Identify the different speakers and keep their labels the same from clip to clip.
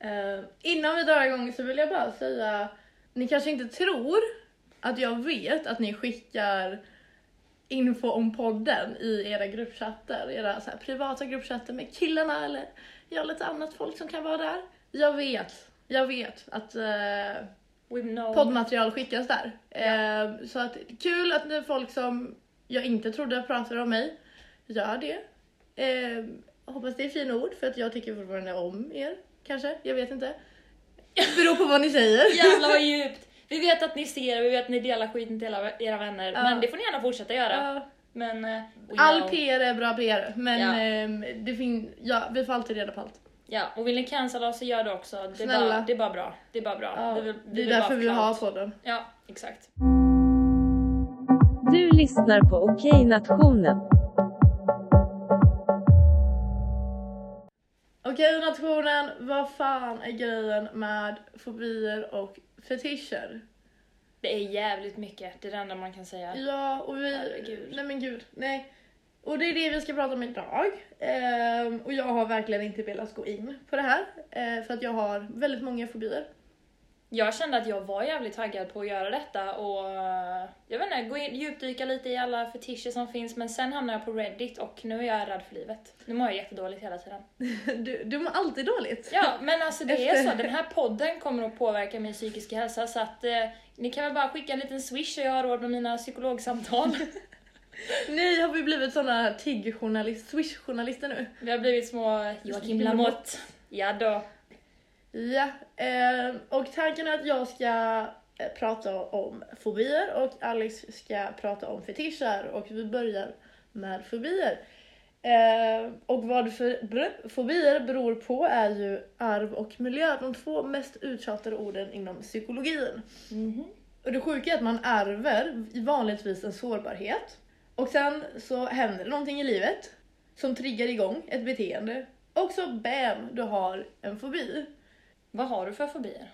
Speaker 1: Eh, innan vi drar igång så vill jag bara säga, ni kanske inte tror att jag vet att ni skickar info om podden i era gruppchatter, era så här privata gruppchatter med killarna eller ja, lite annat folk som kan vara där. Jag vet, jag vet att eh,
Speaker 2: We've known.
Speaker 1: poddmaterial skickas där. Eh, så att, kul att det är folk som jag inte trodde pratade om mig gör det. Eh, hoppas det är fina ord för att jag tycker fortfarande om er. Kanske, jag vet inte. Det beror på vad ni säger.
Speaker 2: Jävlar vad djupt. Vi vet att ni ser, vi vet att ni delar skiten till alla era vänner.
Speaker 1: Ja.
Speaker 2: Men det får ni gärna fortsätta göra.
Speaker 1: Ja.
Speaker 2: Men... eh, we
Speaker 1: All
Speaker 2: know.
Speaker 1: PR är bra PR, men
Speaker 2: Ja.
Speaker 1: ehm, det fin- ja, vi får alltid reda på allt.
Speaker 2: Ja, och vill ni cancella oss så gör det också. Det är,
Speaker 1: Snälla.
Speaker 2: bara, det är bara bra. Det är bara bra.
Speaker 1: Ja,
Speaker 2: vill-
Speaker 1: det är
Speaker 2: vill bara
Speaker 1: därför vi
Speaker 2: clout.
Speaker 1: har podden.
Speaker 2: Ja, exakt.
Speaker 3: Du lyssnar på Okej Nationen.
Speaker 1: Okej nationen, vad fan är grejen med fobier och fetischer?
Speaker 2: Det är jävligt mycket, det är det enda man kan säga.
Speaker 1: Ja, och vi...
Speaker 2: Herregud.
Speaker 1: Nej men gud, nej. Och det är det vi ska prata om idag. Ehm, och jag har verkligen inte velat gå in på det här. eh, för att jag har väldigt många fobier.
Speaker 2: Jag kände att jag var jävligt taggad på att göra detta och eh, jag vet inte, gå in, djupdyka lite i alla fetischer som finns men sen hamnade jag på Reddit och nu är jag rädd för livet. Nu mår jag jättedåligt hela tiden.
Speaker 1: Du, du mår alltid dåligt.
Speaker 2: Ja, men alltså det är
Speaker 1: Efter-
Speaker 2: så. Den här podden kommer att påverka min psykiska hälsa så att eh, ni kan väl bara skicka en liten swish så jag har råd med mina psykologsamtal.
Speaker 1: Nej, har vi blivit såna här TIG-journalister, Swish-journalister nu?
Speaker 2: Vi har blivit små Joakim Lamotte. Ja då.
Speaker 1: Ja, ehm, och tanken är att jag ska eh, prata om fobier och Alex ska prata om fetischer och vi börjar med fobier. Ehm, och vad för, br- fobier beror på är ju arv och miljö, de två mest uttjatade orden inom psykologin.
Speaker 2: Mhm.
Speaker 1: Och det sjuka är att man ärver vanligtvis en sårbarhet och sen så händer det någonting i livet som triggar igång ett beteende och så bam, du har en fobi.
Speaker 2: Vad har du för fobier?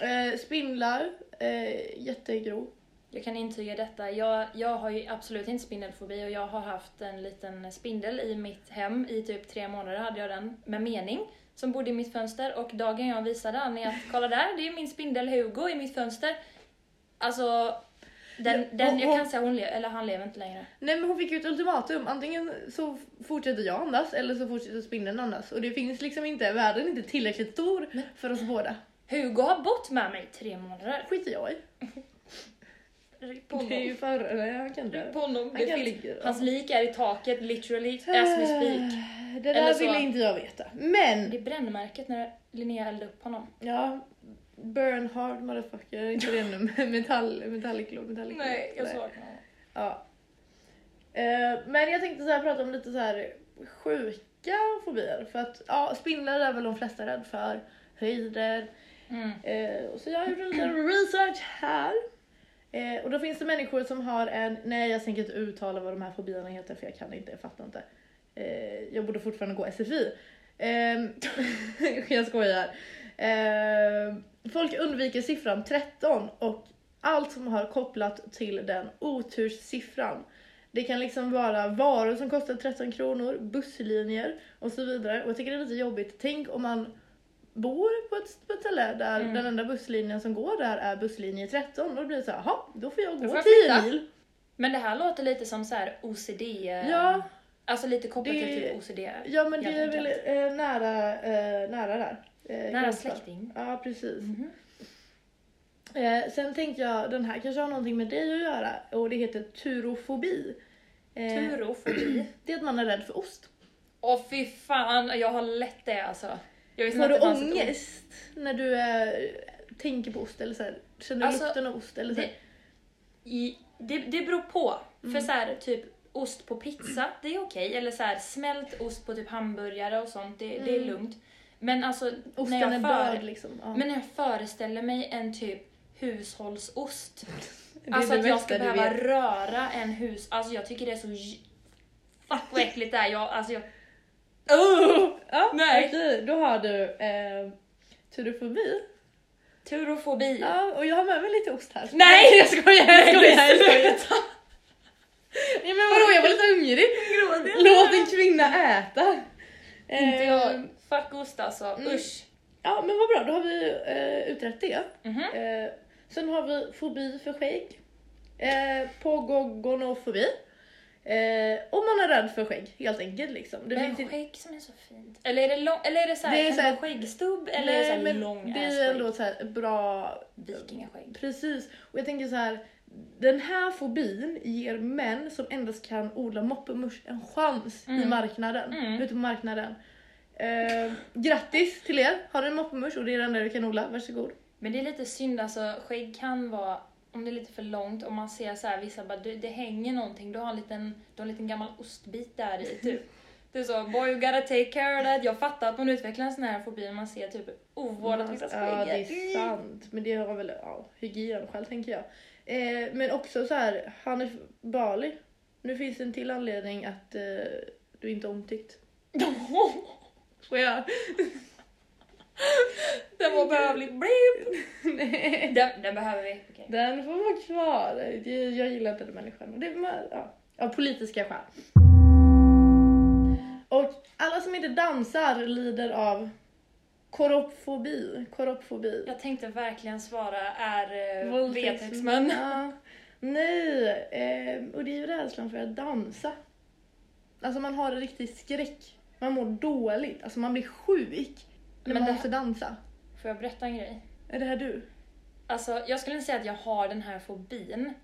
Speaker 1: Eh, spindlar, eh, jättegrov.
Speaker 2: Jag kan intyga detta. Jag, jag har ju absolut inte spindelfobi och jag har haft en liten spindel i mitt hem i typ tre månader hade jag den med mening som bodde i mitt fönster och dagen jag visade Annie att kolla där, det är min spindel Hugo i mitt fönster. Alltså, den,
Speaker 1: Ja,
Speaker 2: den,
Speaker 1: och-
Speaker 2: jag kan
Speaker 1: och-
Speaker 2: säga hon le- eller han lever inte längre.
Speaker 1: Nej men hon fick ju ett ultimatum. Antingen så f- fortsätter jag andas eller så fortsätter spindeln andas. Och det finns liksom inte, världen är inte tillräckligt stor för oss båda.
Speaker 2: Hugo har bott med mig i tre månader.
Speaker 1: skiter jag i.
Speaker 2: Ryck på
Speaker 1: Det är ju
Speaker 2: honom.
Speaker 1: för... Nej, han kan
Speaker 2: Ryck
Speaker 1: dö.
Speaker 2: på honom.
Speaker 1: Han
Speaker 2: Det
Speaker 1: kan
Speaker 2: finns-
Speaker 1: ligga där.
Speaker 2: Hans lik är i taket literally as we speak.
Speaker 1: Det
Speaker 2: Eller
Speaker 1: där
Speaker 2: så.
Speaker 1: ville inte jag veta. Men!
Speaker 2: Det är brännmärket när Linnea eldade upp honom.
Speaker 1: Ja, burn hard motherfucker. Inte det nu. Metall, metallic låt, metallic låt. Nej.
Speaker 2: saknar honom.
Speaker 1: Ja. Eh, men jag tänkte så här, prata om lite så här sjuka fobier. För att ja, spindlar är väl de flesta rädd för. Höjder.
Speaker 2: Mm.
Speaker 1: Eh, och så jag har gjort en liten research här. Eh, och då finns det människor som har en, nej jag tänker inte uttala vad de här fobierna heter för jag kan inte, jag fattar inte. Eh, jag borde fortfarande gå SFI. Eh, Ehm, jag skojar. Eh, folk undviker siffran 13 och allt som har kopplat till den oturssiffran. Det kan liksom vara varor som kostar 13 kronor, busslinjer och så vidare. Och jag tycker det är lite jobbigt. Tänk om man bor på ett, på ett ställe där
Speaker 2: Mm.
Speaker 1: den enda busslinjen som går där är busslinje 13. Då blir det så här, jaha, då får jag
Speaker 2: Då
Speaker 1: gå
Speaker 2: får jag
Speaker 1: 10
Speaker 2: flytta."
Speaker 1: mil.
Speaker 2: Men det här låter lite som så här OCD. eh,
Speaker 1: Ja,
Speaker 2: Alltså lite kopplat
Speaker 1: Det-
Speaker 2: till typ OCD.
Speaker 1: ja men det
Speaker 2: helt
Speaker 1: är väl
Speaker 2: enkelt.
Speaker 1: eh, nära, eh, nära där. Eh,
Speaker 2: Nära
Speaker 1: gränsen.
Speaker 2: släkting.
Speaker 1: Ja, precis.
Speaker 2: Mhm.
Speaker 1: Eh, sen tänkte jag, den här kanske har någonting med dig att göra och det heter turofobi. Eh,
Speaker 2: Turofobi.
Speaker 1: Det är att man är rädd för ost.
Speaker 2: Åh fy fan, jag har lätt det alltså. Jag visste
Speaker 1: Har
Speaker 2: inte
Speaker 1: du
Speaker 2: att det fanns ett ord.
Speaker 1: ångest när du eh, tänker på ost eller så här, känner du
Speaker 2: Alltså,
Speaker 1: lukten av ost? Eller så här?
Speaker 2: Det, i, det, det beror på.
Speaker 1: Mm.
Speaker 2: För så här, typ ost på pizza, det är okej. Eller så här, smält ost på typ hamburgare och sånt, det, det är
Speaker 1: Mm.
Speaker 2: lugnt. Men alltså, när
Speaker 1: Osten
Speaker 2: jag
Speaker 1: är
Speaker 2: för,
Speaker 1: död liksom. Ja.
Speaker 2: Men när jag föreställer mig en typ hushållsost.
Speaker 1: Det är
Speaker 2: Alltså
Speaker 1: det
Speaker 2: att jag
Speaker 1: bästa
Speaker 2: ska
Speaker 1: du
Speaker 2: behöva
Speaker 1: vet.
Speaker 2: röra en hus... Alltså jag tycker det är så... j- Fuck vad äckligt det är. Jag, alltså jag... Oh!
Speaker 1: ja,
Speaker 2: Nej.
Speaker 1: Okej, då har du eh, turofobi.
Speaker 2: Turofobi.
Speaker 1: Ja, och jag har med mig lite ost här.
Speaker 2: Nej jag skojar! Jag
Speaker 1: skojar, jag skojar.
Speaker 2: skojar.
Speaker 1: Nej, men vadå, jag var lite hungrig. Låt en kvinna äta.
Speaker 2: Inte
Speaker 1: Eh, Mm.
Speaker 2: jag. Fuck ost alltså. Usch.
Speaker 1: Ja men vad bra, då har vi eh, utrett det.
Speaker 2: Mhm.
Speaker 1: Eh, sen har vi fobi för skägg. Eh, Pågogonofobi. Eh, om man är rädd för skägg helt enkelt liksom. Det
Speaker 2: Men
Speaker 1: finns inte-
Speaker 2: skägg som är så fint. Eller är det, lång, eller är det, så här,
Speaker 1: Det är
Speaker 2: kan
Speaker 1: så här-
Speaker 2: det vara skäggstubb eller är det så här
Speaker 1: men
Speaker 2: lång
Speaker 1: Det
Speaker 2: ass
Speaker 1: är ändå
Speaker 2: skägg?
Speaker 1: så här bra
Speaker 2: Vikingaskägg.
Speaker 1: Precis, och jag tänker så här. Den här fobin ger män som endast kan odla moppemusch en chans i
Speaker 2: Mm.
Speaker 1: marknaden,
Speaker 2: Mm.
Speaker 1: ute på marknaden. Eh, grattis till er! Har ni en moppemusch och det är den där du kan odla, varsågod.
Speaker 2: Men det är lite synd alltså, skägg kan vara, om det är lite för långt, om man ser så här vissa bara, det, det hänger någonting, du har en liten, du har en liten gammal ostbit där i typ. Det är så, boy you gotta take care of that. Jag fattar att man utvecklar en sån här fobi när man ser typ ovårdat vissa skägg.
Speaker 1: Ja, det
Speaker 2: Mm.
Speaker 1: är sant. Men det har väl ja, hygien själv tänker jag. Eh, men också så här, Hanif Bali. Nu finns det en till anledning att eh, du inte är omtyckt. Skojar.
Speaker 2: den var behövlig. Bleep.
Speaker 1: Nej.
Speaker 2: Den, den behöver vi. Okej.
Speaker 1: Den får vara kvar. Det- Jag gillar inte den människan. Och Det, var- ja, av politiska skäl. Och alla som inte dansar lider av korrupfobi. Korrupfobi.
Speaker 2: Jag tänkte verkligen svara är eh,
Speaker 1: Våldtäktsmän.
Speaker 2: våldtäktsmän.
Speaker 1: Ja. Nej, eh, och det är ju rädslan för att dansa. Alltså man har en riktig skräck. Man mår dåligt, alltså man blir sjuk när
Speaker 2: Men
Speaker 1: man
Speaker 2: det-
Speaker 1: måste dansa.
Speaker 2: Får jag berätta en grej?
Speaker 1: Är det här du?
Speaker 2: Alltså, jag skulle inte säga att jag har den här fobin.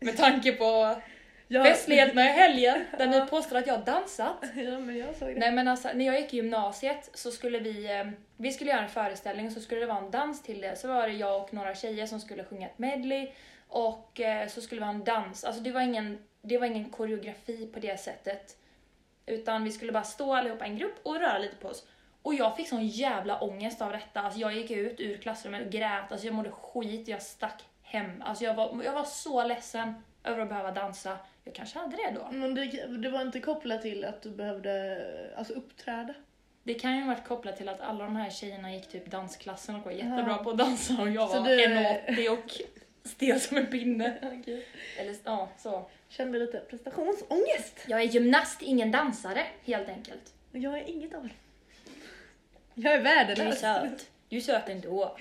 Speaker 2: Med tanke på
Speaker 1: Jag...
Speaker 2: festligheterna i helgen där ni påstår att jag har dansat.
Speaker 1: Ja, men jag såg det.
Speaker 2: Nej men alltså, när jag gick i gymnasiet så skulle vi, eh, vi skulle göra en föreställning och så skulle det vara en dans till det. Så var det jag och några tjejer som skulle sjunga ett medley och eh, så skulle det vara en dans. Alltså det var ingen, det var ingen koreografi på det sättet. Utan vi skulle bara stå allihopa i en grupp och röra lite på oss. Och jag fick sån jävla ångest av detta. Alltså jag gick ut ur klassrummet och grät, alltså jag mådde skit, jag stack hem. Alltså jag var, jag var så ledsen över att behöva dansa. Jag kanske hade det då.
Speaker 1: Men det, det var inte kopplat till att du behövde alltså, uppträda?
Speaker 2: Det kan ju ha varit kopplat till att alla de här tjejerna gick typ dansklassen och var jättebra
Speaker 1: Ja.
Speaker 2: på att dansa och jag
Speaker 1: Så
Speaker 2: var
Speaker 1: du-
Speaker 2: 1,80 och stel som en pinne. Eller ja, så.
Speaker 1: Kände lite prestationsångest.
Speaker 2: Jag är gymnast, ingen dansare helt enkelt.
Speaker 1: Jag är inget av det. Jag är
Speaker 2: Du är
Speaker 1: värdelös.
Speaker 2: söt. Du är söt ändå.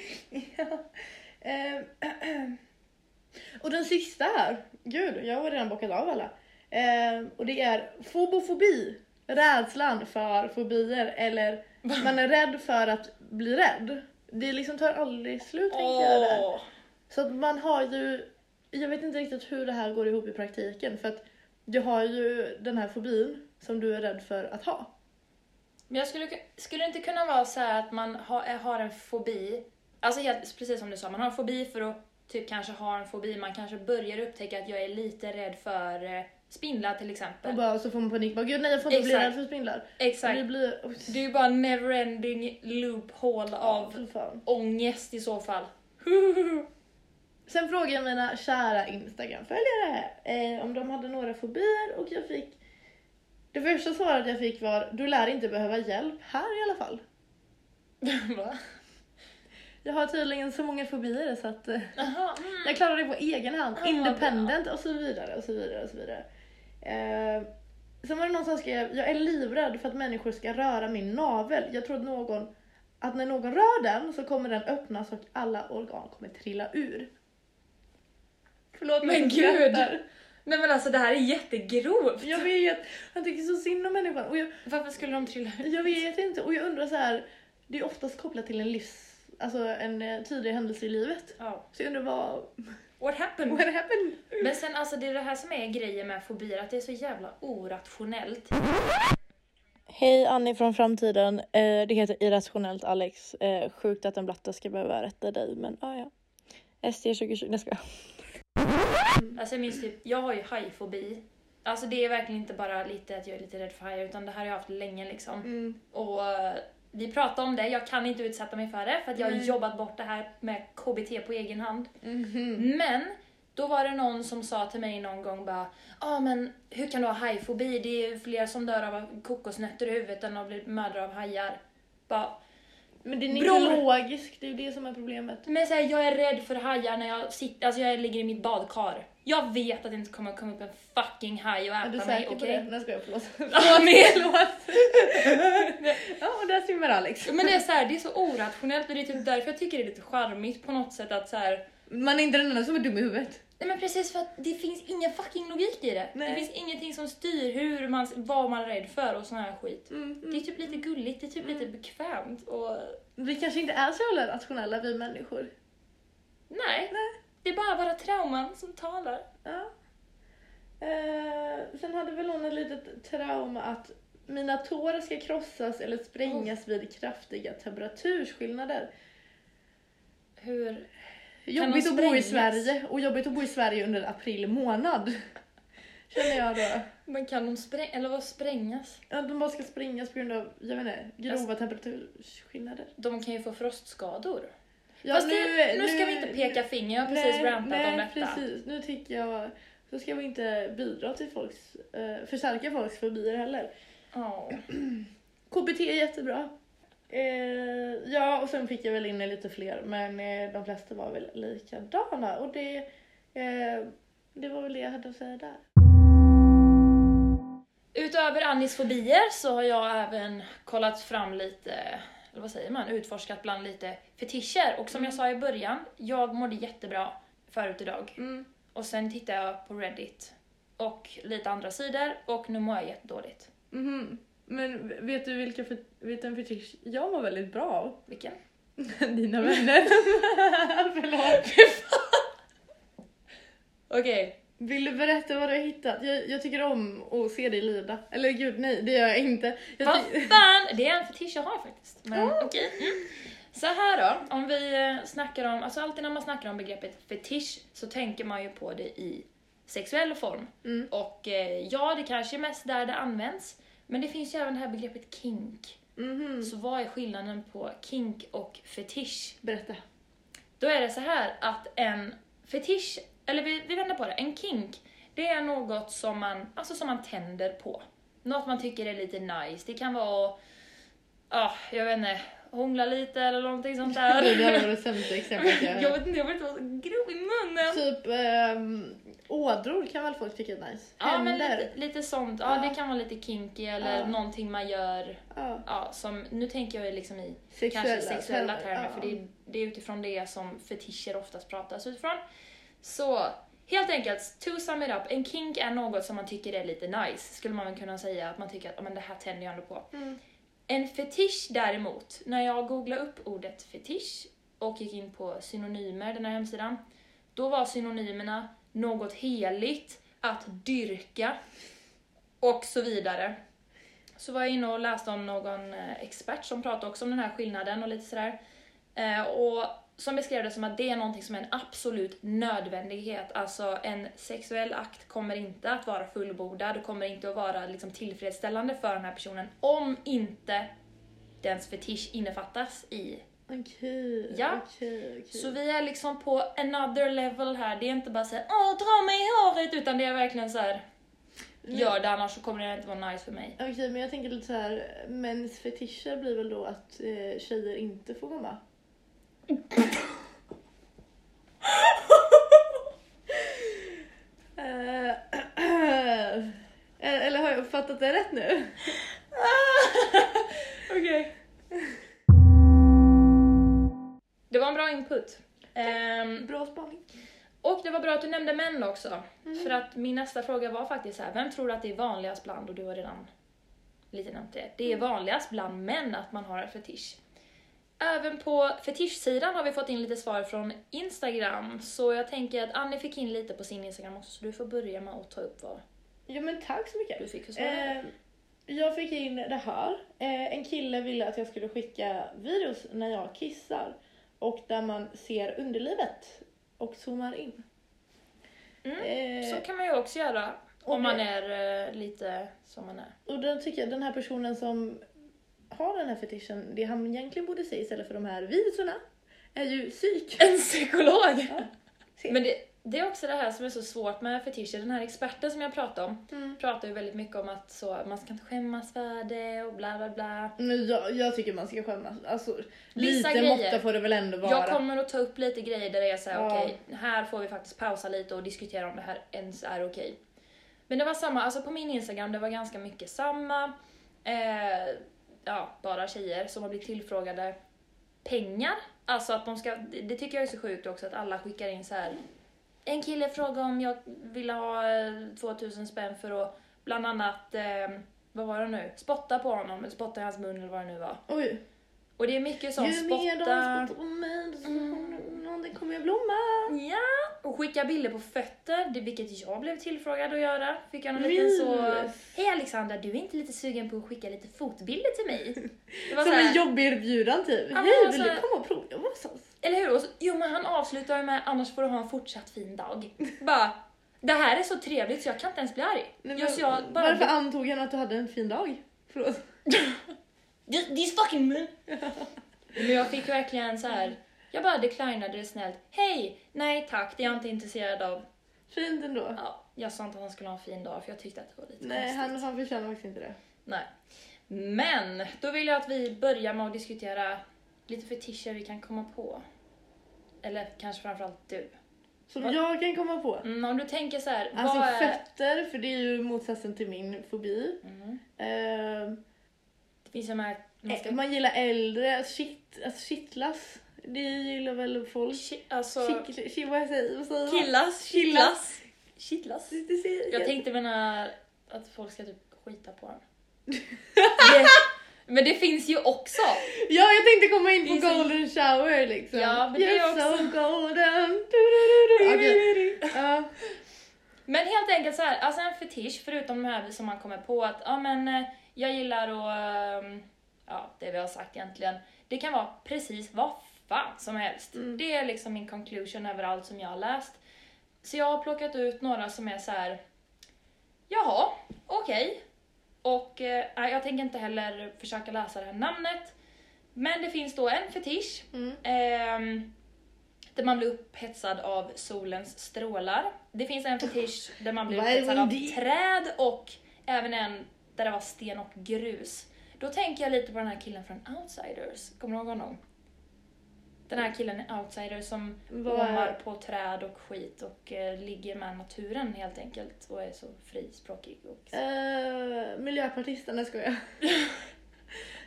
Speaker 1: Ehm, och den sista här. Gud, jag har redan bockat av alla. Ehm, och det är fobofobi. Rädslan för fobier eller man är rädd för att bli rädd. Det liksom tar aldrig slut tänker jag där.
Speaker 2: Åh.
Speaker 1: Så att man har ju, jag vet inte riktigt hur det här går ihop i praktiken för att du har ju den här fobin som du är rädd för att ha.
Speaker 2: Men jag skulle, skulle det inte kunna vara så här att man har, har en fobi, alltså helt, precis som du sa, man har en fobi för att typ kanske ha en fobi, man kanske börjar upptäcka att jag är lite rädd för eh, spindlar till
Speaker 1: Och
Speaker 2: exempel.
Speaker 1: bara så får man panik, bara gud nej jag får inte bli
Speaker 2: Exakt.
Speaker 1: rädd för spindlar.
Speaker 2: Exakt.
Speaker 1: Det blir,
Speaker 2: Det är ju bara en neverending loophole av
Speaker 1: Fy fan.
Speaker 2: ångest i så fall.
Speaker 1: Sen frågade jag mina kära Instagram-följare eh, om de hade några fobier och jag fick det första svaret jag fick var du lär inte behöva hjälp här i alla fall.
Speaker 2: Va?
Speaker 1: Jag har tydligen så många fobier så att eh,
Speaker 2: Jaha, mm.
Speaker 1: Jag klarar det på egen hand,
Speaker 2: Ja,
Speaker 1: independent och så vidare och så vidare och så vidare. Eh, sen var det någon som skrev, jag är livrädd för att människor ska röra min navel. Jag tror att någon, att när någon rör den så kommer den öppnas och alla organ kommer trilla ur. Förlåt
Speaker 2: Men
Speaker 1: jag
Speaker 2: gud!
Speaker 1: skrattar.
Speaker 2: Nej men alltså det här är jättegrovt.
Speaker 1: Jag vet, jag tycker så synd om människan. Och jag,
Speaker 2: Varför skulle de trilla ut?
Speaker 1: jag vet inte, och jag undrar så här, det är oftast kopplat till en livs, alltså en eh, tidig händelse i livet.
Speaker 2: Ja.
Speaker 1: Så jag undrar vad,
Speaker 2: What happened?
Speaker 1: what happened?
Speaker 2: Men sen alltså det är det här som är grejen med fobier, att det är så jävla orationellt.
Speaker 1: Hej Annie från framtiden. Eh, det heter Irrationellt Alex. Eh, sjukt att en blatte ska behöva rätta dig, men ah, ja. ST 2020, nej ska
Speaker 2: Alltså jag minns typ, jag har ju hajfobi. Alltså det är verkligen inte bara lite att jag är lite rädd för hajar utan det här har jag haft länge liksom.
Speaker 1: mm.
Speaker 2: Och eh, vi pratade om det, jag kan inte utsätta mig för det för att jag har
Speaker 1: Nej.
Speaker 2: jobbat bort det här med KBT på egen hand.
Speaker 1: Mhm.
Speaker 2: Men då var det någon som sa till mig någon gång bara Ja ah, men hur kan du ha hajfobi? Det är ju fler som dör av kokosnötter i huvudet än att bli mördade av hajar. Bara,
Speaker 1: Men den är
Speaker 2: Bror!
Speaker 1: inte logisk, det är ju det som är problemet.
Speaker 2: men så här, jag är rädd för hajar när jag sitter, alltså jag ligger i mitt badkar. Jag vet att det inte kommer att komma upp en fucking haj och
Speaker 1: Är du
Speaker 2: äta mig,
Speaker 1: säker på det?
Speaker 2: okej?
Speaker 1: Nej, jag skojar, förlåt.
Speaker 2: Ja, men-
Speaker 1: ja, och där simmar Alex.
Speaker 2: Men det är så här, det är så orationellt och det är typ därför jag tycker det är lite charmigt på något sätt att så här.
Speaker 1: Man är inte den enda som är dum i huvudet.
Speaker 2: Nej men precis för att det finns ingen fucking logik i det.
Speaker 1: Nej.
Speaker 2: Det finns ingenting som styr hur man, vad man är rädd för och sån här skit.
Speaker 1: Mm,
Speaker 2: Det är
Speaker 1: mm.
Speaker 2: typ lite gulligt, det är typ lite bekvämt och
Speaker 1: Vi kanske inte är så jävla rationella vi människor.
Speaker 2: nej. Det är bara våra trauman som talar.
Speaker 1: Ja. Eh, sen hade väl hon ett litet trauma att mina tår ska krossas eller sprängas vid kraftiga temperaturskillnader.
Speaker 2: Hur?
Speaker 1: Jobbigt
Speaker 2: de
Speaker 1: att bo i
Speaker 2: sprängas?
Speaker 1: Sverige och jobbigt att bo i Sverige under april månad. Känner jag då.
Speaker 2: Men kan de sprängas, eller vad sprängas?
Speaker 1: Att de bara ska sprängas på grund av, jag vet inte, grova temperaturskillnader.
Speaker 2: De kan ju få frostskador.
Speaker 1: Ja,
Speaker 2: Fast nu, nu ska vi inte peka finger, jag har precis
Speaker 1: nej,
Speaker 2: rantat
Speaker 1: nej,
Speaker 2: om detta.
Speaker 1: precis. Nu tycker jag, så ska vi inte bidra till folks, eh, förstärka folks fobier heller.
Speaker 2: Ja.
Speaker 1: KBT är jättebra. Eh, ja, och sen fick jag väl in lite fler, men eh, de flesta var väl likadana. Och det, eh, det var väl det jag hade att säga där.
Speaker 2: Utöver Annis fobier så har jag även kollat fram lite, eller vad säger man, utforskat bland lite fetischer. Och som
Speaker 1: Mm.
Speaker 2: jag sa i början, jag mådde jättebra förut idag.
Speaker 1: Mm.
Speaker 2: Och sen tittade jag på Reddit och lite andra sidor och nu mår jag jättedåligt.
Speaker 1: Mhm. Men vet du vilka fet- vet du en fetisch jag var väldigt bra av?
Speaker 2: Vilken?
Speaker 1: Dina vänner. Förlåt.
Speaker 2: Okej.
Speaker 1: Vill du berätta vad du har hittat? Jag, jag tycker om att se dig lida. Eller gud nej, det gör jag inte. Jag
Speaker 2: Vad
Speaker 1: ty-
Speaker 2: fan! Det är en fetisch jag har faktiskt. Men okej. Mm. Så här då, om vi eh, snackar om, alltså alltid när man snackar om begreppet fetisch så tänker man ju på det i sexuell form.
Speaker 1: Mm.
Speaker 2: Och eh, ja, det kanske är mest där det används. Men det finns ju även det här begreppet kink.
Speaker 1: Mhm.
Speaker 2: Så vad är skillnaden på kink och fetisch?
Speaker 1: Berätta.
Speaker 2: Då är det så här att en fetisch, eller vi, vi vänder på det, en kink, det är något som man, alltså som man tänder på. Något man tycker är lite nice. Det kan vara att, ah, jag vet inte, hångla lite eller någonting sånt där.
Speaker 1: Det här var det sämsta exemplet jag har
Speaker 2: jag vet inte, jag vill inte vara så grov i munnen.
Speaker 1: Typ ehm, ådror kan väl folk tycka är nice?
Speaker 2: Ja, men
Speaker 1: Händer.
Speaker 2: lite, lite sånt. Ja,
Speaker 1: Ja.
Speaker 2: det kan vara lite kinky eller
Speaker 1: Ja.
Speaker 2: någonting man gör,
Speaker 1: Ja.
Speaker 2: ja, som, nu tänker jag ju liksom i
Speaker 1: Sexuella
Speaker 2: kanske sexuella termer,
Speaker 1: ja.
Speaker 2: för det är, det är utifrån det som fetischer oftast pratas utifrån. Så helt enkelt, to sum it up, en kink är något som man tycker är lite nice, skulle man väl kunna säga, att man tycker att "Ja, men det här tänder jag ändå på.
Speaker 1: Mm.
Speaker 2: En fetisch däremot, när jag googlade upp ordet fetisch och gick in på synonymer, den här hemsidan, då var synonymerna något heligt, att dyrka och så vidare. Så var jag inne och läste om någon eh, expert som pratade också om den här skillnaden och lite sådär. Eh, Och som beskrev det som att det är någonting som är en absolut nödvändighet. Alltså en sexuell akt kommer inte att vara fullbordad, kommer inte att vara liksom tillfredsställande för den här personen om inte dens fetisch innefattas i.
Speaker 1: Mm. Okej,
Speaker 2: Ja.
Speaker 1: okej, okej.
Speaker 2: Så vi är liksom på another level här. Det är inte bara såhär åh dra mig i håret utan det är verkligen så här. gör det annars så kommer det inte vara nice för mig.
Speaker 1: Okej, men jag tänker lite så här. mäns fetischer blir väl då att eh, tjejer inte får komma? Eh, Eller har jag uppfattat det rätt nu?
Speaker 2: Okej. Det var en bra input. Ehm,
Speaker 1: Bra spaning.
Speaker 2: och det var bra att du nämnde män också. För att min nästa fråga var faktiskt så här, vem tror du att det är vanligast bland, och du har redan lite nämnt det, det är vanligast bland män att man har en fetisch. Även på fetischsidan har vi fått in lite svar från Instagram, så jag tänker att Annie fick in lite på sin Instagram också, så du får börja med att ta upp vad
Speaker 1: Ja men tack så mycket.
Speaker 2: du fick för svar.
Speaker 1: Eh, jag fick in det här. Eh, en kille ville att jag skulle skicka virus när jag kissar och där man ser underlivet och zoomar in.
Speaker 2: Mm.
Speaker 1: Eh,
Speaker 2: Så kan man ju också göra om
Speaker 1: och-
Speaker 2: man är eh, lite som man är.
Speaker 1: Och den tycker jag den här personen som har den här fetischen, det han egentligen borde se istället för de här viruserna är ju psyk.
Speaker 2: En psykolog!
Speaker 1: Ja.
Speaker 2: Men det, Det är också det här som är så svårt med fetischer. Den här experten som jag pratade om
Speaker 1: Mm.
Speaker 2: pratar ju väldigt mycket om att så, man ska inte skämmas för det och bla bla bla.
Speaker 1: Men jag, jag tycker man ska skämmas. Alltså, lite
Speaker 2: grejer.
Speaker 1: måtta får det väl ändå vara.
Speaker 2: Jag kommer att ta upp lite grejer där jag säger
Speaker 1: Ja.
Speaker 2: okej, här får vi faktiskt pausa lite och diskutera om det här ens är okej. Men det var samma, alltså på min Instagram det var ganska mycket samma. Eh, ja, bara tjejer som har blivit tillfrågade pengar. Alltså att de ska, det, det tycker jag är så sjukt också att alla skickar in så här. En kille frågade om jag ville ha eh, 2000 spänn för att bland annat, eh, vad var det nu, spotta på honom, eller spotta i hans mun eller vad det nu var.
Speaker 1: Oj.
Speaker 2: Och det är mycket sånt,
Speaker 1: Ju mer de
Speaker 2: spotta... Mm.
Speaker 1: spottar på mig, desto någonting kommer jag blomma.
Speaker 2: Ja! Och skicka bilder på fötter, det, vilket jag blev tillfrågad att göra. Fick jag någon liten så...
Speaker 1: Mys.
Speaker 2: Hej Alexandra, du är inte lite sugen på att skicka lite fotbilder till mig? Det var
Speaker 1: Som
Speaker 2: så
Speaker 1: en
Speaker 2: här,
Speaker 1: jobbig erbjudan typ.
Speaker 2: men
Speaker 1: Hej,
Speaker 2: alltså-
Speaker 1: vill du komma och provjobba hos oss?
Speaker 2: Eller hur? Och så, jo men han avslutar ju med annars får du ha en fortsatt fin dag. Bara, det här är så trevligt så jag kan inte ens bli arg.
Speaker 1: Nej,
Speaker 2: Just
Speaker 1: men
Speaker 2: jag bara...
Speaker 1: Varför antog han att du hade en fin dag? Förlåt.
Speaker 2: This, this fucking moon! men jag fick verkligen så här. jag bara declinade det snällt. Hej! Nej tack, det är jag inte intresserad av.
Speaker 1: Fint ändå.
Speaker 2: Ja, jag sa inte att han skulle ha en fin dag för jag tyckte att det var lite
Speaker 1: Nej,
Speaker 2: konstigt.
Speaker 1: han, han förtjänar faktiskt inte det.
Speaker 2: Nej. Men då vill jag att vi börjar med att diskutera lite fetischer vi kan komma på. Eller kanske framförallt du.
Speaker 1: Som
Speaker 2: Vad-
Speaker 1: jag kan komma på.
Speaker 2: Mm, om du tänker så här,
Speaker 1: Alltså
Speaker 2: vad är...
Speaker 1: fötter, för det är ju motsatsen till min fobi.
Speaker 2: Mm.
Speaker 1: Ehm,
Speaker 2: Det finns ju de här... Man ska...
Speaker 1: eh, man gillar äldre, shit, alltså kittlas. Det gillar väl folk.
Speaker 2: Ki- Alltså...
Speaker 1: Kittl- ki- vad jag säger vad säger man?
Speaker 2: Killas,
Speaker 1: Killas.
Speaker 2: Kittlas.
Speaker 1: Det- det ser-
Speaker 2: Jag tänkte med den här att folk ska typ skita på en. det... Men det finns ju också!
Speaker 1: Ja, jag tänkte komma in
Speaker 2: Det är
Speaker 1: på
Speaker 2: så-
Speaker 1: golden shower liksom.
Speaker 2: Ja, men det
Speaker 1: You're
Speaker 2: är också-
Speaker 1: so golden. Du, du, du, du. Okej. Ja.
Speaker 2: Men helt enkelt så här, alltså en fetisch, förutom de här som man kommer på att ja men eh, jag gillar och ehm, ja det vi har sagt egentligen. Det kan vara precis vad fan som helst.
Speaker 1: Mm.
Speaker 2: Det är liksom min conclusion över allt som jag har läst. Så jag har plockat ut några som är så här. jaha, okej. Och eh, nej, jag tänker inte heller försöka läsa det här namnet. Men det finns då en fetisch
Speaker 1: Mm.
Speaker 2: Ehm, där man blir upphetsad av solens strålar. Det finns en fetisch där man blir
Speaker 1: Vad är
Speaker 2: upphetsad av
Speaker 1: det?
Speaker 2: träd och även en där det var sten och grus. Då tänker jag lite på den här killen från Outsiders. Kommer du ihåg honom? Den här killen i Outsiders som
Speaker 1: Vad är-
Speaker 2: åmar på träd och skit och eh, ligger med naturen helt enkelt och är så frispråkig. Och...
Speaker 1: Eh, miljöpartisten, nej skojar.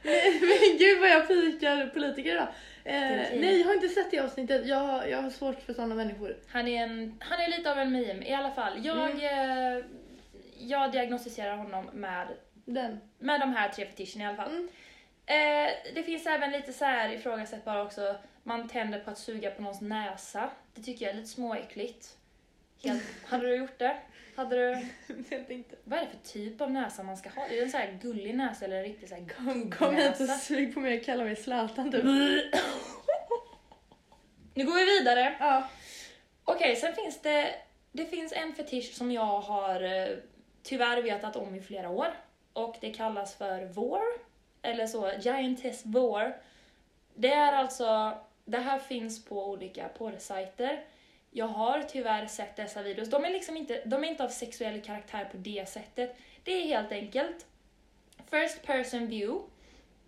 Speaker 1: nej, men gud vad jag pikar politiker idag. Eh,
Speaker 2: Din tid.
Speaker 1: nej, jag har inte sett det avsnittet. Jag, jag har svårt för sådana människor.
Speaker 2: Han, är en, han är lite av en meme i alla fall. Jag,
Speaker 1: Mm.
Speaker 2: eh, jag diagnostiserar honom med
Speaker 1: Den.
Speaker 2: med de här tre fetischerna i alla fall.
Speaker 1: Mm.
Speaker 2: Eh, det finns även lite så här ifrågasättbara också. Man tänder på att suga på någons näsa. Det tycker jag är lite småäckligt. Helt, hade du gjort det? Hade du...
Speaker 1: jag tänkte,
Speaker 2: Vad är det för typ av näsa man ska ha? Är det en så här gullig näsa eller en riktig så här
Speaker 1: kom, kom hit och
Speaker 2: Näsa.
Speaker 1: sug på mig och kalla mig Zlatan typ.
Speaker 2: Mm. Nu går vi vidare.
Speaker 1: ja.
Speaker 2: Okej, sen finns det... Det finns en fetisch som jag har eh, tyvärr vetat om i flera år. Och det kallas för vår. Eller så, giantess vår. Det är alltså... Det här finns på olika porrsajter. Jag har tyvärr sett dessa videos. De är liksom inte, de är inte av sexuell karaktär på det sättet. Det är helt enkelt first person view.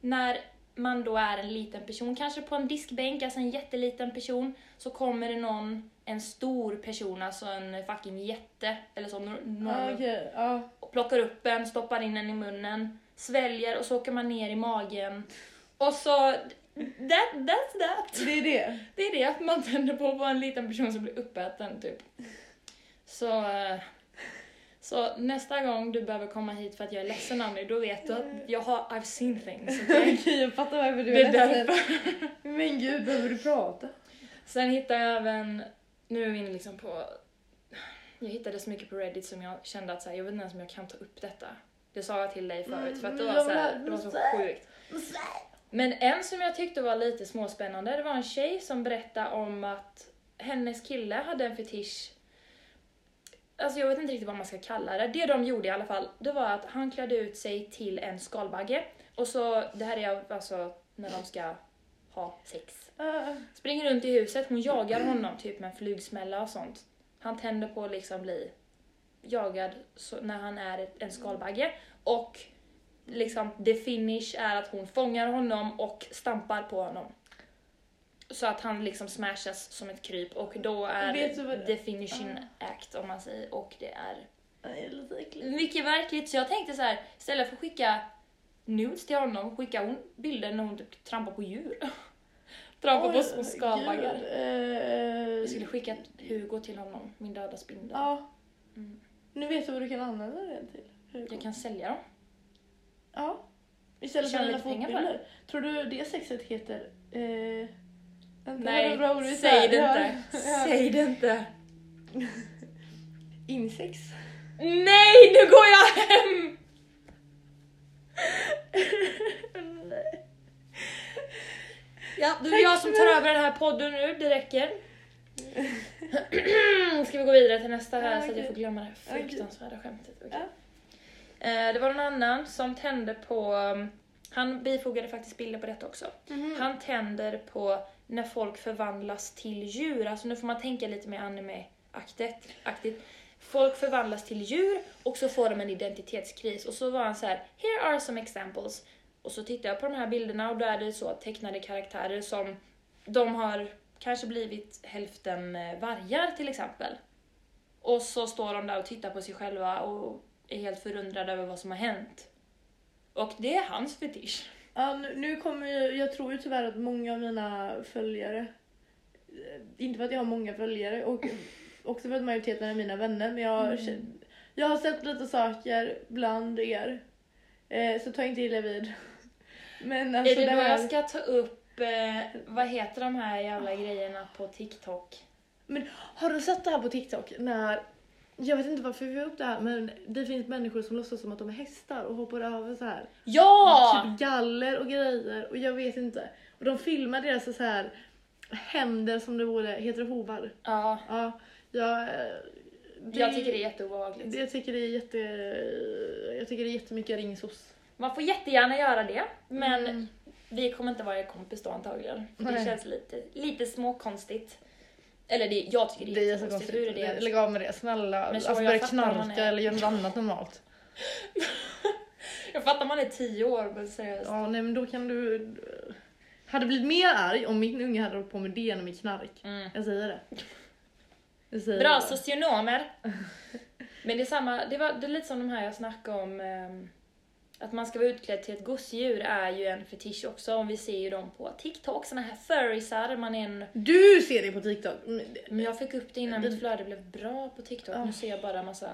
Speaker 2: När man då är en liten person, kanske på en diskbänk, alltså en jätteliten person, så kommer det någon, en stor person, alltså en fucking jätte, eller så, nor-
Speaker 1: Ja,
Speaker 2: någon
Speaker 1: okej. Ja.
Speaker 2: och plockar upp en, stoppar in den i munnen, sväljer och så åker man ner i magen. Och så... That, that's that!
Speaker 1: Det är det.
Speaker 2: Det är det att man tänder på att vara en liten person som blir uppäten, typ. Så... eh, Så nästa gång du behöver komma hit för att jag är ledsen Annie, då vet du att jag har I've seen things.
Speaker 1: Okej,
Speaker 2: okej?
Speaker 1: jag fattar varför du
Speaker 2: Det
Speaker 1: är
Speaker 2: är
Speaker 1: ledsen.
Speaker 2: därför.
Speaker 1: Men gud, behöver du prata?
Speaker 2: Sen hittade jag även, nu är vi inne liksom på, jag hittade så mycket på Reddit som jag kände att så här, jag vet inte ens om jag kan ta upp detta. Det sa jag till dig förut för att det
Speaker 1: Mm,
Speaker 2: var,
Speaker 1: jag
Speaker 2: så här,
Speaker 1: vill ha-
Speaker 2: det var så sjukt. Men en som jag tyckte var lite småspännande, det var en tjej som berättade om att hennes kille hade en fetisch Alltså jag vet inte riktigt vad man ska kalla det. Det de gjorde i alla fall, det var att han klädde ut sig till en skalbagge. Och så, det här är alltså när de ska ha sex.
Speaker 1: Ah,
Speaker 2: Springer runt i huset, hon jagar honom typ med en flugsmälla och sånt. Han tänder på att liksom bli jagad så, när han är ett, en skalbagge. Och liksom the finish är att hon fångar honom och stampar på honom. Så att han liksom smashas som ett kryp och då är
Speaker 1: Vet du vad- Ah.
Speaker 2: the finishing act om man säger och det är
Speaker 1: Det är lite äckligt.
Speaker 2: mycket verkligt, så jag tänkte så här, istället för att skicka nudes till honom, skicka hon bilder när hon typ trampar på djur. trampar på
Speaker 1: Oj,
Speaker 2: små skalbaggar.
Speaker 1: gud, eh,
Speaker 2: Jag skulle skicka ett Hugo till honom, min döda spindel.
Speaker 1: Ja.
Speaker 2: Mm.
Speaker 1: Nu vet du vad du kan använda den till. Hugo.
Speaker 2: Jag kan sälja dem.
Speaker 1: Ja. Istället för
Speaker 2: Tjäna
Speaker 1: dina
Speaker 2: lite pengar på
Speaker 1: fotbilder. Tror du det sexet heter... Eh, vänta,
Speaker 2: Nej,
Speaker 1: vad bra ord vi
Speaker 2: säg
Speaker 1: sa.
Speaker 2: det
Speaker 1: Ja,
Speaker 2: inte.
Speaker 1: ja.
Speaker 2: Säg det inte.
Speaker 1: Insex.
Speaker 2: Nej, nu går jag hem! Ja, då är det jag som tar över den här podden nu, det räcker. Ska vi gå vidare till nästa här så att jag får glömma det här fruktansvärda skämtet. Okej. Eh, Det var någon annan som tände på, mm, han bifogade faktiskt bilder på detta också. Han tänder på när folk förvandlas till djur. Alltså nu får man tänka lite mer anime-aktigt. aktigt. Folk förvandlas till djur och så får de en identitetskris. Och så var han så här, here are some examples. Och så tittar jag på de här bilderna och då är det så att tecknade karaktärer som de har kanske blivit hälften eh, vargar till exempel. Och så står de där och tittar på sig själva och är helt förundrade över vad som har hänt. Och det är hans fetisch.
Speaker 1: Ja, nu, nu kommer ju, jag tror ju tyvärr att många av mina följare, eh, inte för att jag har många följare och också för att majoriteten är mina vänner, men jag,
Speaker 2: Mm.
Speaker 1: känner- jag har sett lite saker bland er. Eh, så ta inte illa vid. Men alltså
Speaker 2: är det, då
Speaker 1: här-
Speaker 2: jag ska ta upp, eh, vad heter de här jävla grejerna på TikTok?
Speaker 1: Men har du sett det här på TikTok? När, jag vet inte varför vi har upp det här, men det finns människor som låtsas som att de är hästar och hoppar över så här.
Speaker 2: Ja!
Speaker 1: Typ galler och grejer och jag vet inte. Och de filmar deras så här händer som det vore, heter det hovar?
Speaker 2: Ja,
Speaker 1: Ja, jag... eh, Det,
Speaker 2: jag tycker det är jätteobehagligt.
Speaker 1: det- Jag tycker det är jätte... Jag tycker det är jättemycket ringsos.
Speaker 2: Man får jättegärna göra det, men
Speaker 1: Mm.
Speaker 2: vi kommer inte vara kompis då antagligen. För Det
Speaker 1: Nej.
Speaker 2: känns lite, lite småkonstigt. Eller det, jag tycker det är jättekonstigt. Hur är det ens-
Speaker 1: Lägg av med det, snälla.
Speaker 2: Men så
Speaker 1: Alltså
Speaker 2: jag
Speaker 1: börja
Speaker 2: fattar man
Speaker 1: knarka
Speaker 2: är-
Speaker 1: eller göra något annat normalt.
Speaker 2: Jag fattar man är tio år, men seriöst.
Speaker 1: Ja, nej men då kan du... Hade blivit mer arg om min unge hade hållit på med det än med knark.
Speaker 2: Mm.
Speaker 1: Jag säger det. Jag säger
Speaker 2: Bra
Speaker 1: det.
Speaker 2: socionomer! Men det är samma, det, var, det är lite som de här jag snackade om. ehm, att man ska vara utklädd till ett gosedjur är ju en fetisch också. Om vi ser ju dem på TikTok, såna här furriesar. Man är en...
Speaker 1: Du ser det på TikTok! Men det-
Speaker 2: Men jag fick upp det innan
Speaker 1: Det-
Speaker 2: mitt flöde blev bra på TikTok.
Speaker 1: Ja.
Speaker 2: Nu ser jag bara massa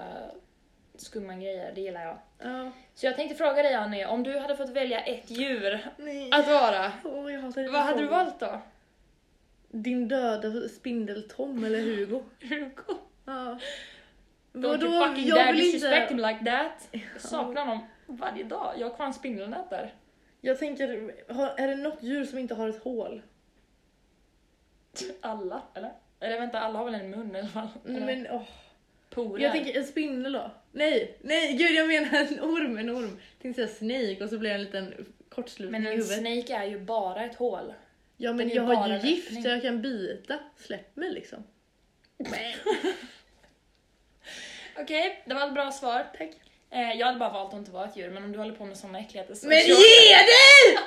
Speaker 2: skumma grejer, det gillar jag.
Speaker 1: Ja,
Speaker 2: Så jag tänkte fråga dig Annie, om du hade fått välja ett djur
Speaker 1: nej.
Speaker 2: att vara,
Speaker 1: Åh, jag hatar
Speaker 2: Alltså, vad hade du valt då?
Speaker 1: Din döda spindeltom eller Hugo?
Speaker 2: Hugo.
Speaker 1: Ja.
Speaker 2: Don't
Speaker 1: Vadå?
Speaker 2: you fucking
Speaker 1: Jag
Speaker 2: dare
Speaker 1: vill
Speaker 2: disrespect
Speaker 1: inte...
Speaker 2: him like that. Jag saknar honom varje dag. Jag har kvar en spindelnät där.
Speaker 1: Jag tänker, har- är det något djur som inte har ett hål?
Speaker 2: Alla, eller? Eller vänta, alla har väl en mun i alla fall?
Speaker 1: Nej,
Speaker 2: Eller
Speaker 1: Mm, Men, åh.
Speaker 2: porer.
Speaker 1: Jag tänker en spindel då. Nej, nej gud jag menar en orm, en orm. Jag tänkte säga snake och så blir det en liten kortslutning
Speaker 2: Men
Speaker 1: i
Speaker 2: en
Speaker 1: huvudet.
Speaker 2: snake är ju bara ett hål.
Speaker 1: Ja
Speaker 2: Den
Speaker 1: men
Speaker 2: är
Speaker 1: jag
Speaker 2: bara
Speaker 1: har
Speaker 2: en
Speaker 1: ju gift
Speaker 2: öppning.
Speaker 1: så jag kan bita. Släpp mig liksom.
Speaker 2: Okej, det var ett bra svar.
Speaker 1: Tack.
Speaker 2: Eh, jag hade bara valt att inte vara ett djur, men om du håller på med såna äckligheter så...
Speaker 1: Men
Speaker 2: kör.
Speaker 1: ge dig!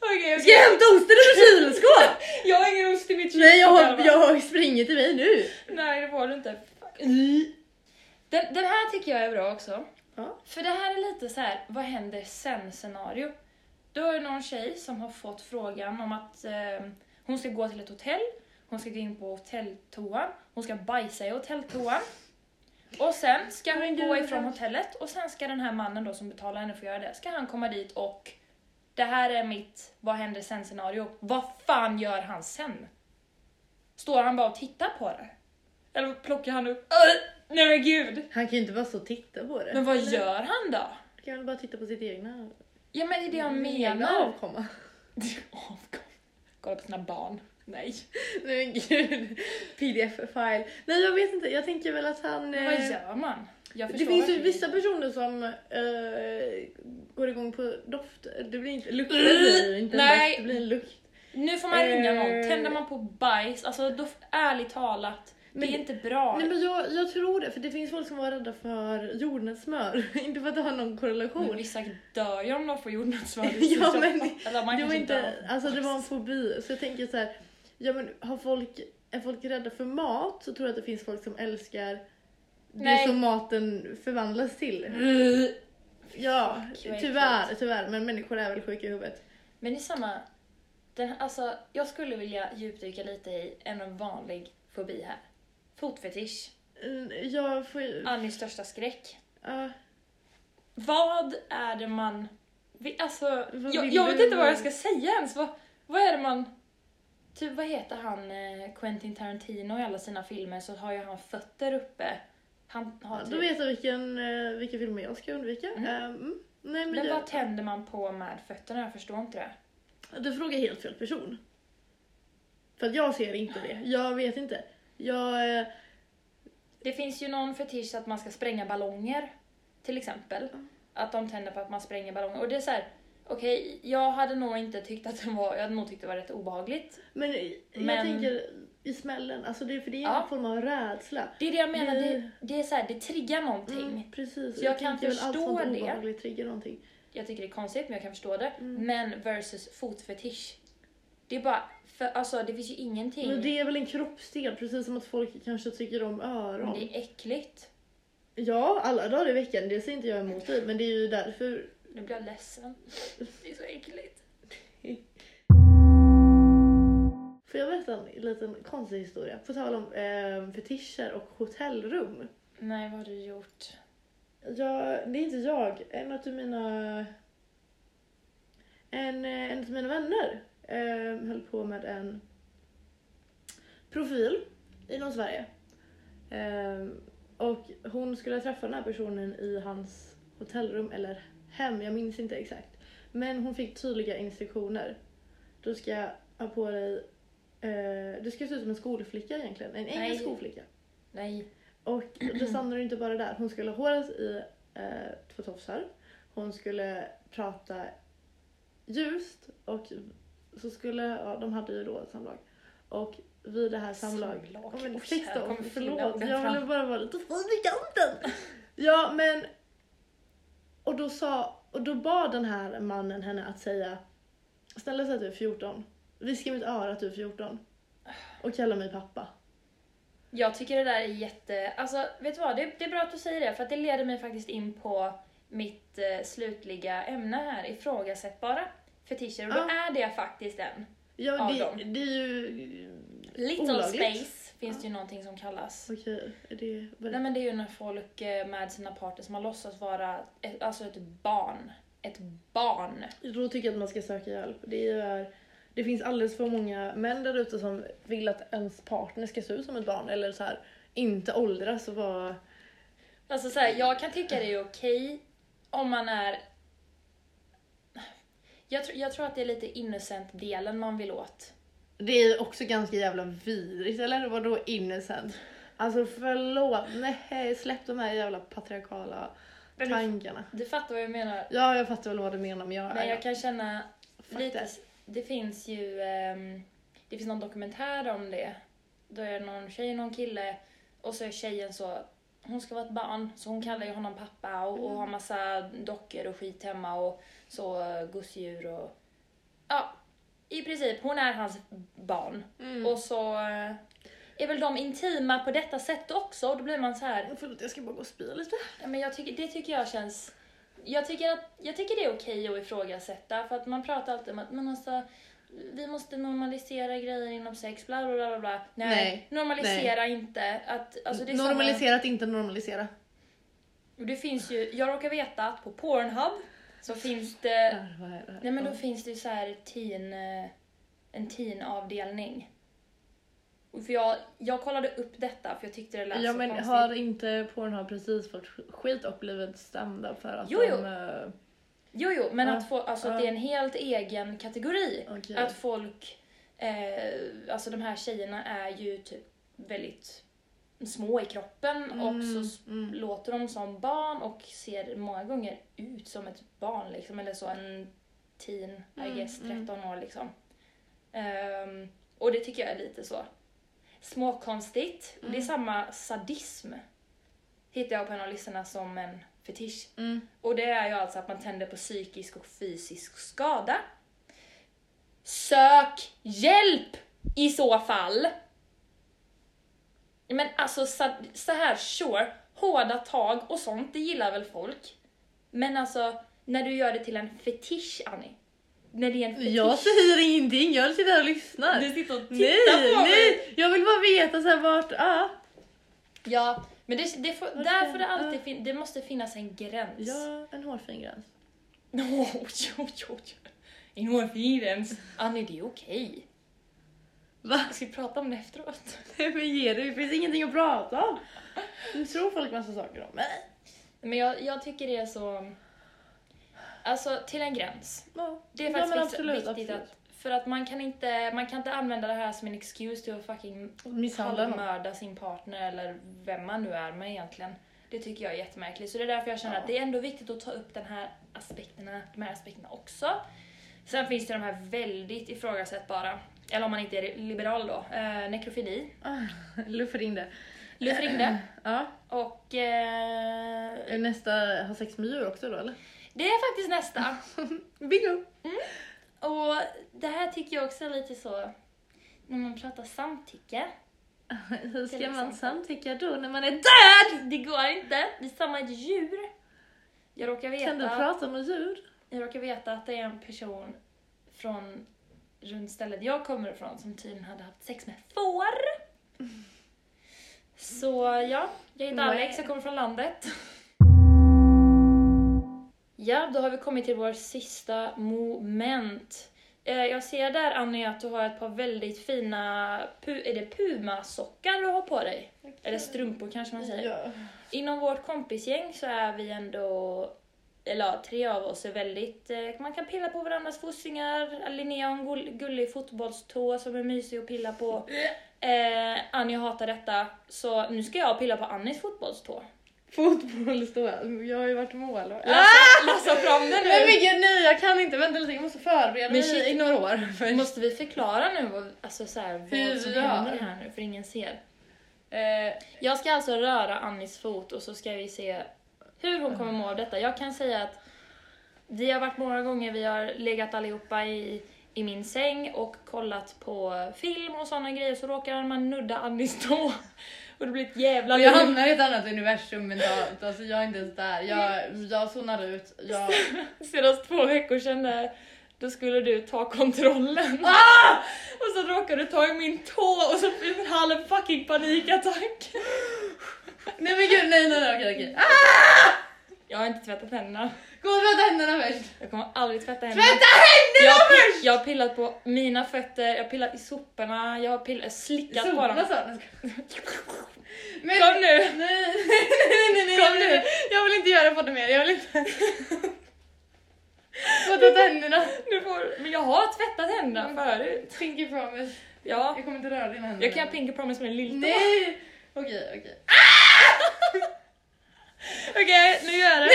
Speaker 2: Okej,
Speaker 1: Ska jag
Speaker 2: okej.
Speaker 1: hämta osten ur kylskåp?
Speaker 2: Jag har ingen ost i mitt kylskåp.
Speaker 1: Nej jag
Speaker 2: Alva.
Speaker 1: har, jag har springit till mig nu.
Speaker 2: Nej, det får du inte. Den, den här tycker jag är bra också.
Speaker 1: Ja.
Speaker 2: För det här är lite så här, vad händer sen scenario? Då är det någon tjej som har fått frågan om att eh, hon ska gå till ett hotell, hon ska gå in på hotelltoan, hon ska bajsa i hotelltoan. Och sen ska hon
Speaker 1: Men
Speaker 2: gå
Speaker 1: gud.
Speaker 2: ifrån hotellet och sen ska den här mannen då som betalar henne för att göra det, ska han komma dit och det här är mitt vad händer sen scenario. Vad fan gör han sen? Står han bara och tittar på det? Eller plockar han upp? Öh, Nej men gud!
Speaker 1: Han kan ju inte bara så titta på det.
Speaker 2: Men vad gör han då?
Speaker 1: Kan väl bara titta på sitt egna,
Speaker 2: Mm. Ja men det är det jag
Speaker 1: egna
Speaker 2: menar.
Speaker 1: avkomma.
Speaker 2: Avgång. Kolla på sina barn. Nej.
Speaker 1: Nej men gud. PDF-file. Nej jag vet inte, jag tänker väl att han...
Speaker 2: Men
Speaker 1: eh,
Speaker 2: vad gör man? Jag
Speaker 1: Det
Speaker 2: förstår
Speaker 1: finns ju
Speaker 2: verkligen
Speaker 1: vissa
Speaker 2: inte.
Speaker 1: personer som eh, går igång på doft. Det blir inte lukt, det blir inte en
Speaker 2: Mm. Nej.
Speaker 1: doft, det blir en lukt.
Speaker 2: Nu får man ringa någon.
Speaker 1: Eh.
Speaker 2: Tänder man på bajs, alltså då, ärligt talat.
Speaker 1: Men-
Speaker 2: det är inte bra.
Speaker 1: Nej men jag, jag tror det, för det finns folk som var rädda för jordnötssmör. inte för att det har någon
Speaker 2: Men
Speaker 1: korrelation.
Speaker 2: vissa dör ju om de får jordnötssmör.
Speaker 1: Ja, men
Speaker 2: Eller man
Speaker 1: det var
Speaker 2: kanske inte...
Speaker 1: inte, alltså det var en fobi. Så jag tänker så här, ja men har folk, är folk rädda för mat så tror jag att det finns folk som älskar
Speaker 2: Nej. Mm.
Speaker 1: det som maten förvandlas till. Ja,
Speaker 2: vad äckligt.
Speaker 1: tyvärr, tyvärr, men människor är väl sjuka i huvudet.
Speaker 2: Men det är samma... Den, alltså, jag skulle vilja djupdyka lite i en vanlig fobi här. Fotfetisch.
Speaker 1: Mm, Jag får ju,
Speaker 2: Annis största skräck.
Speaker 1: ja,
Speaker 2: Vad är det man... vi- Alltså,
Speaker 1: Vad
Speaker 2: jag,
Speaker 1: vill
Speaker 2: jag
Speaker 1: du
Speaker 2: vet inte vad
Speaker 1: med-
Speaker 2: jag ska säga ens. Vad, vad är det man... Typ, vad heter han eh, Quentin Tarantino i alla sina filmer så har ju han fötter uppe. Han har
Speaker 1: ja,
Speaker 2: typ...
Speaker 1: då vet jag vilken, eh, vilka filmer jag ska undvika.
Speaker 2: Mm.
Speaker 1: Eh, mm. nej men
Speaker 2: men
Speaker 1: jag,
Speaker 2: vad tänder man på med fötterna? Jag förstår inte det.
Speaker 1: du frågar helt fel person. För att jag ser inte det, jag vet inte. Jag, eh,
Speaker 2: Det finns ju någon fetisch att man ska spränga ballonger, till exempel. Att de tänder på att man spränger ballonger. Och det är så här, okej, jag hade nog inte tyckt att det var, jag hade nog tyckt det var rätt obehagligt.
Speaker 1: men jag
Speaker 2: Men-
Speaker 1: tänker i smällen, alltså det, för det är
Speaker 2: Ja.
Speaker 1: en form av rädsla.
Speaker 2: Det är det jag menar,
Speaker 1: Det-
Speaker 2: det, det är så här, det triggar någonting.
Speaker 1: Mm, precis.
Speaker 2: Så jag kan
Speaker 1: tänker väl allt
Speaker 2: förstå
Speaker 1: sånt
Speaker 2: det.
Speaker 1: obehagligt triggar någonting.
Speaker 2: Jag tycker det är konstigt men jag kan förstå det.
Speaker 1: Mm.
Speaker 2: Men versus fotfetisch. Det är bara, för, alltså det finns ju ingenting.
Speaker 1: Men det är väl en kroppsdel, precis som att folk kanske tycker om öron.
Speaker 2: Men det är äckligt.
Speaker 1: Ja, alla dagar i veckan, det ser inte jag emot dig, men det är ju därför...
Speaker 2: Nu blir jag ledsen. Det är så äckligt.
Speaker 1: Får jag berätta en liten konstig historia? På tal om eh, fetischer och hotellrum.
Speaker 2: Nej, vad har du gjort?
Speaker 1: Jag, det är inte jag, en av mina... En, eh, en av mina vänner eh, höll på med en profil inom Sverige. Eh, och hon skulle träffa den här personen i hans hotellrum eller hem, jag minns inte exakt. Men hon fick tydliga instruktioner. Du ska ha på dig... Eh, du ska se ut som en skolflicka egentligen, en
Speaker 2: Nej.
Speaker 1: engelsk skolflicka.
Speaker 2: Nej.
Speaker 1: Och det stannade ju inte bara där. Hon skulle ha håret i eh, två tofsar. Hon skulle prata ljust och så skulle, ja de hade ju då ett samlag. Och vid det här samlaget...
Speaker 2: Samlag.
Speaker 1: Ja, men
Speaker 2: Oj,
Speaker 1: sex
Speaker 2: här
Speaker 1: då,
Speaker 2: kommer fula
Speaker 1: förlåt.
Speaker 2: orden
Speaker 1: Jag ville
Speaker 2: fram.
Speaker 1: bara vara lite fin i kanten. Ja men... Och då sa, och då bad den här mannen henne att säga Snälla säg att du är 14. Viska i mitt öra att du är 14. Och kalla mig pappa.
Speaker 2: Jag tycker det där är jätte... Alltså, vet du vad? Det, det är bra att du säger det, för att det leder mig faktiskt in på mitt eh, slutliga ämne här, ifrågasättbara fetischer. Och då
Speaker 1: Ja.
Speaker 2: är det faktiskt en.
Speaker 1: Ja,
Speaker 2: Av
Speaker 1: det,
Speaker 2: dem.
Speaker 1: det är ju...
Speaker 2: Little
Speaker 1: Olagligt.
Speaker 2: space finns det ju någonting som kallas.
Speaker 1: Okej, är det... vad-
Speaker 2: Nej men det är ju när folk eh, med sina partners, man låtsas vara ett, alltså ett barn. Ett barn.
Speaker 1: Då tycker jag att man ska söka hjälp. Det, är, det finns alldeles för många män där ute som vill att ens partner ska se ut som ett barn eller så här, inte åldras och vara...
Speaker 2: Alltså så här, jag kan tycka det är okej om man är... Jag, tr- jag tror att det är lite innocent-delen man vill åt.
Speaker 1: Det är också ganska jävla vidrigt, eller vadå innocent? Alltså förlåt, nej släpp de här jävla patriarkala
Speaker 2: Men du-
Speaker 1: tankarna.
Speaker 2: Du fattar vad jag menar?
Speaker 1: Ja, jag fattar väl vad du menar men jag...
Speaker 2: Men jag kan känna
Speaker 1: Fuck
Speaker 2: lite...
Speaker 1: that.
Speaker 2: Det finns ju... ehm, det finns någon dokumentär om det. Då är det någon tjej och någon kille och så är tjejen så... Hon ska vara ett barn, så hon kallar ju honom pappa och, och har massa dockor och skit hemma och så eh, gosedjur och... Ja, i princip. Hon är hans barn.
Speaker 1: Mm.
Speaker 2: Och så eh, är väl de intima på detta sätt också och då blir man så här...
Speaker 1: Förlåt, jag ska bara gå och spy lite.
Speaker 2: Ja, men jag tycker, det tycker jag känns... Jag tycker, att, jag tycker det är okej att ifrågasätta för att man pratar alltid om att man måste, vi måste normalisera grejer inom sex, bla bla bla. bla. Nej,
Speaker 1: Nej,
Speaker 2: normalisera inte. Att, alltså det, är
Speaker 1: normalisera att inte normalisera.
Speaker 2: Samma, det finns ju, jag råkar veta att på Pornhub så finns det,
Speaker 1: Där, vad är det här?
Speaker 2: nej men då finns det ju så här teen, eh, en teen avdelning. För jag, jag kollade upp detta för jag tyckte det lät
Speaker 1: Ja
Speaker 2: så
Speaker 1: men
Speaker 2: konstigt.
Speaker 1: har inte Pornhub precis fått sk- skit och blivit stämda för att
Speaker 2: Jo,
Speaker 1: de...
Speaker 2: jo.
Speaker 1: eh,
Speaker 2: Jo, jo, men
Speaker 1: Ja,
Speaker 2: att, få, alltså,
Speaker 1: ja.
Speaker 2: att det är en helt egen kategori.
Speaker 1: Okej.
Speaker 2: Att folk, eh, alltså de här tjejerna är ju typ väldigt små i kroppen och så s-
Speaker 1: mm.
Speaker 2: låter de som barn och ser många gånger ut som ett barn liksom, eller så en teen, I
Speaker 1: Mm,
Speaker 2: guess,
Speaker 1: mm.
Speaker 2: 13 år liksom. Ehm, och det tycker jag är lite så. småkonstigt. Det
Speaker 1: Mm.
Speaker 2: är samma sadism. Hittar jag på en av listorna som en fetisch.
Speaker 1: Mm.
Speaker 2: Och det är ju alltså att man tänder på psykisk och fysisk skada. Sök hjälp i så fall! Men alltså så, så här, sure, hårda tag och sånt, det gillar väl folk? Men alltså, när du gör det till en fetisch, Annie. När det är en fetisch.
Speaker 1: Jag säger ingenting, jag sitter här och lyssnar.
Speaker 2: Du sitter och tittar
Speaker 1: nej,
Speaker 2: på mig!
Speaker 1: nej! Jag vill bara veta så här vart... Ah.
Speaker 2: Ja, men det, det får, där får det
Speaker 1: ja.
Speaker 2: alltid fin- det måste finnas en gräns.
Speaker 1: Ja, en hårfin gräns.
Speaker 2: No, jo, jo, jo. In vår fyrens. Annie, det är okej.
Speaker 1: Va?
Speaker 2: Ska vi prata om det efteråt?
Speaker 1: Nej men ge dig, det finns ingenting att prata om. Nu tror folk massa saker om mig.
Speaker 2: Men jag, jag tycker det är så... Alltså, till en gräns.
Speaker 1: Ja,
Speaker 2: Det är
Speaker 1: ja,
Speaker 2: faktiskt
Speaker 1: men
Speaker 2: viktigt- viktigt att... För att man kan, inte, man kan inte använda det här som en excuse till att fucking
Speaker 1: Misshandla någon.
Speaker 2: halvmörda sin partner eller vem man nu är med egentligen. Det tycker jag är jättemärkligt. Så det är därför jag känner
Speaker 1: Ja.
Speaker 2: att det är ändå viktigt att ta upp den här aspekterna, de här aspekterna också. Sen finns det de här väldigt ifrågasättbara, eller om man inte är liberal då, eh, nekrofili,
Speaker 1: Ah, Luffar in det.
Speaker 2: lufrinde
Speaker 1: Ja,
Speaker 2: och... Eh,
Speaker 1: är nästa har sex med djur också då eller?
Speaker 2: det är faktiskt nästa.
Speaker 1: Bingo!
Speaker 2: Och det här tycker jag också är lite så, när man pratar samtycke.
Speaker 1: Hur
Speaker 2: Till
Speaker 1: ska man
Speaker 2: exempel.
Speaker 1: samtycka då när man är död?
Speaker 2: Det går inte, det är samma ett djur. Jag råkar
Speaker 1: Kan du
Speaker 2: veta,
Speaker 1: prata med djur?
Speaker 2: jag råkar veta att det är en person från runt stället jag kommer ifrån som tydligen hade haft sex med får. Så ja, jag heter
Speaker 1: Nej.
Speaker 2: Alex, jag kommer från landet. Ja, då har vi kommit till vår sista moment. Eh, Jag ser där Annie att du har ett par väldigt fina, pu- är det Puma-sockar du har på dig? Eller strumpor kanske man säger.
Speaker 1: Ja.
Speaker 2: Inom vårt kompisgäng så är vi ändå, eller ja, tre av oss är väldigt, eh, man kan pilla på varandras fossingar. Linnea har en gull, gullig fotbollstå som är mysig att pilla på. Eh, Annie hatar detta, så nu ska jag pilla på Annies fotbollstå.
Speaker 1: Fotboll står jag. Jag har ju varit målvakt. Ah!
Speaker 2: Lassa, lassa fram den
Speaker 1: Men
Speaker 2: nu!
Speaker 1: vilken nej jag kan inte, vänta lite jag måste förbereda
Speaker 2: Men
Speaker 1: mig
Speaker 2: shit.
Speaker 1: i några år. först.
Speaker 2: Måste vi förklara nu vad, alltså så här,
Speaker 1: Hur
Speaker 2: vad som
Speaker 1: vi gör?
Speaker 2: händer här nu, för ingen ser. Jag ska alltså röra Annis fot och så ska vi se hur hon
Speaker 1: Mm.
Speaker 2: kommer må av detta. Jag kan säga att vi har varit många gånger, vi har legat allihopa i, i min säng och kollat på film och sådana grejer, så råkar man nudda Annis tå. Och det blir ett jävla
Speaker 1: Och jag
Speaker 2: liv.
Speaker 1: hamnar i ett annat universum mentalt, alltså jag är inte ens där. Jag, jag zonar ut. Jag...
Speaker 2: Senast två veckor sedan där, då skulle du ta kontrollen.
Speaker 1: Ah!
Speaker 2: Och så råkade du ta i min tå och så fick jag en halv fucking panikattack.
Speaker 1: Nej men gud, nej nej nej okej okej. Ah!
Speaker 2: Jag har inte tvättat händerna.
Speaker 1: Gå och tvätta händerna först.
Speaker 2: Jag kommer aldrig tvätta händerna.
Speaker 1: Tvätta händerna
Speaker 2: Jag, har pi-
Speaker 1: först!
Speaker 2: jag har pillat på mina fötter, jag har pillat i soporna, jag har pillat, slickat på
Speaker 1: Soporna
Speaker 2: dem.
Speaker 1: sa han. Men,
Speaker 2: Kom nu.
Speaker 1: Nej, nej, nej, nej, nej,
Speaker 2: Kom
Speaker 1: nej,
Speaker 2: nu.
Speaker 1: nej. Jag vill inte göra på det mer, jag vill inte. Gå och tvätta händerna.
Speaker 2: Nu får, men jag har tvättat
Speaker 1: Mm.
Speaker 2: händerna förut.
Speaker 1: Pinky promise.
Speaker 2: Ja.
Speaker 1: Jag kommer inte röra dina händer.
Speaker 2: Jag kan pinka promise med en lilltå.
Speaker 1: Nej! Okej okej.
Speaker 2: Okej, nu gör jag det.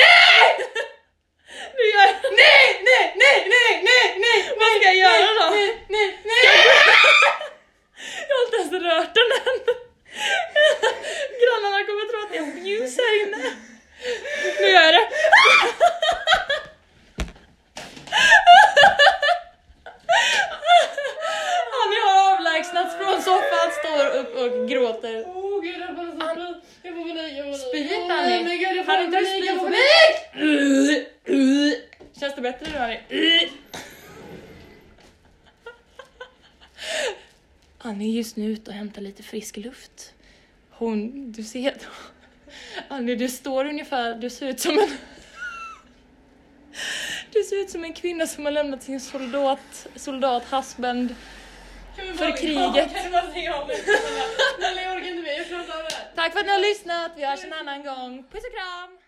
Speaker 2: Nu gör jag det.
Speaker 1: Nej, nej, nej, nej, nej, nej!
Speaker 2: Vad ska jag göra då?
Speaker 1: Nej, nej, nej!
Speaker 2: Jag har inte ens rört den än. Grannarna kommer tro att jag bjuds här inne. Nu gör jag det. Annie har avlägsnats från soffan, står upp och gråter.
Speaker 1: Åh oh, gud, jag får så panik. Jag får panik, jag får panik.
Speaker 2: Spyr
Speaker 1: Åh,
Speaker 2: Fanny.
Speaker 1: nej, men gud, jag får
Speaker 2: Har du inte
Speaker 1: panik, jag
Speaker 2: spyr
Speaker 1: får
Speaker 2: på
Speaker 1: panik.
Speaker 2: Känns det bättre nu Annie? Annie är just nu ute och hämtar lite frisk luft. Hon, du ser då. Annie, du står ungefär, du ser ut som en... Du ser ut som en kvinna som har lämnat sin soldat, soldat-husband.
Speaker 1: Kan vi
Speaker 2: För
Speaker 1: bara-
Speaker 2: kriget.
Speaker 1: Kan vi bara stänga av nu? Snälla, jag orkar inte mer, jag pratar om det här.
Speaker 2: Tack för att ni har lyssnat, vi hörs en annan gång. Puss och kram!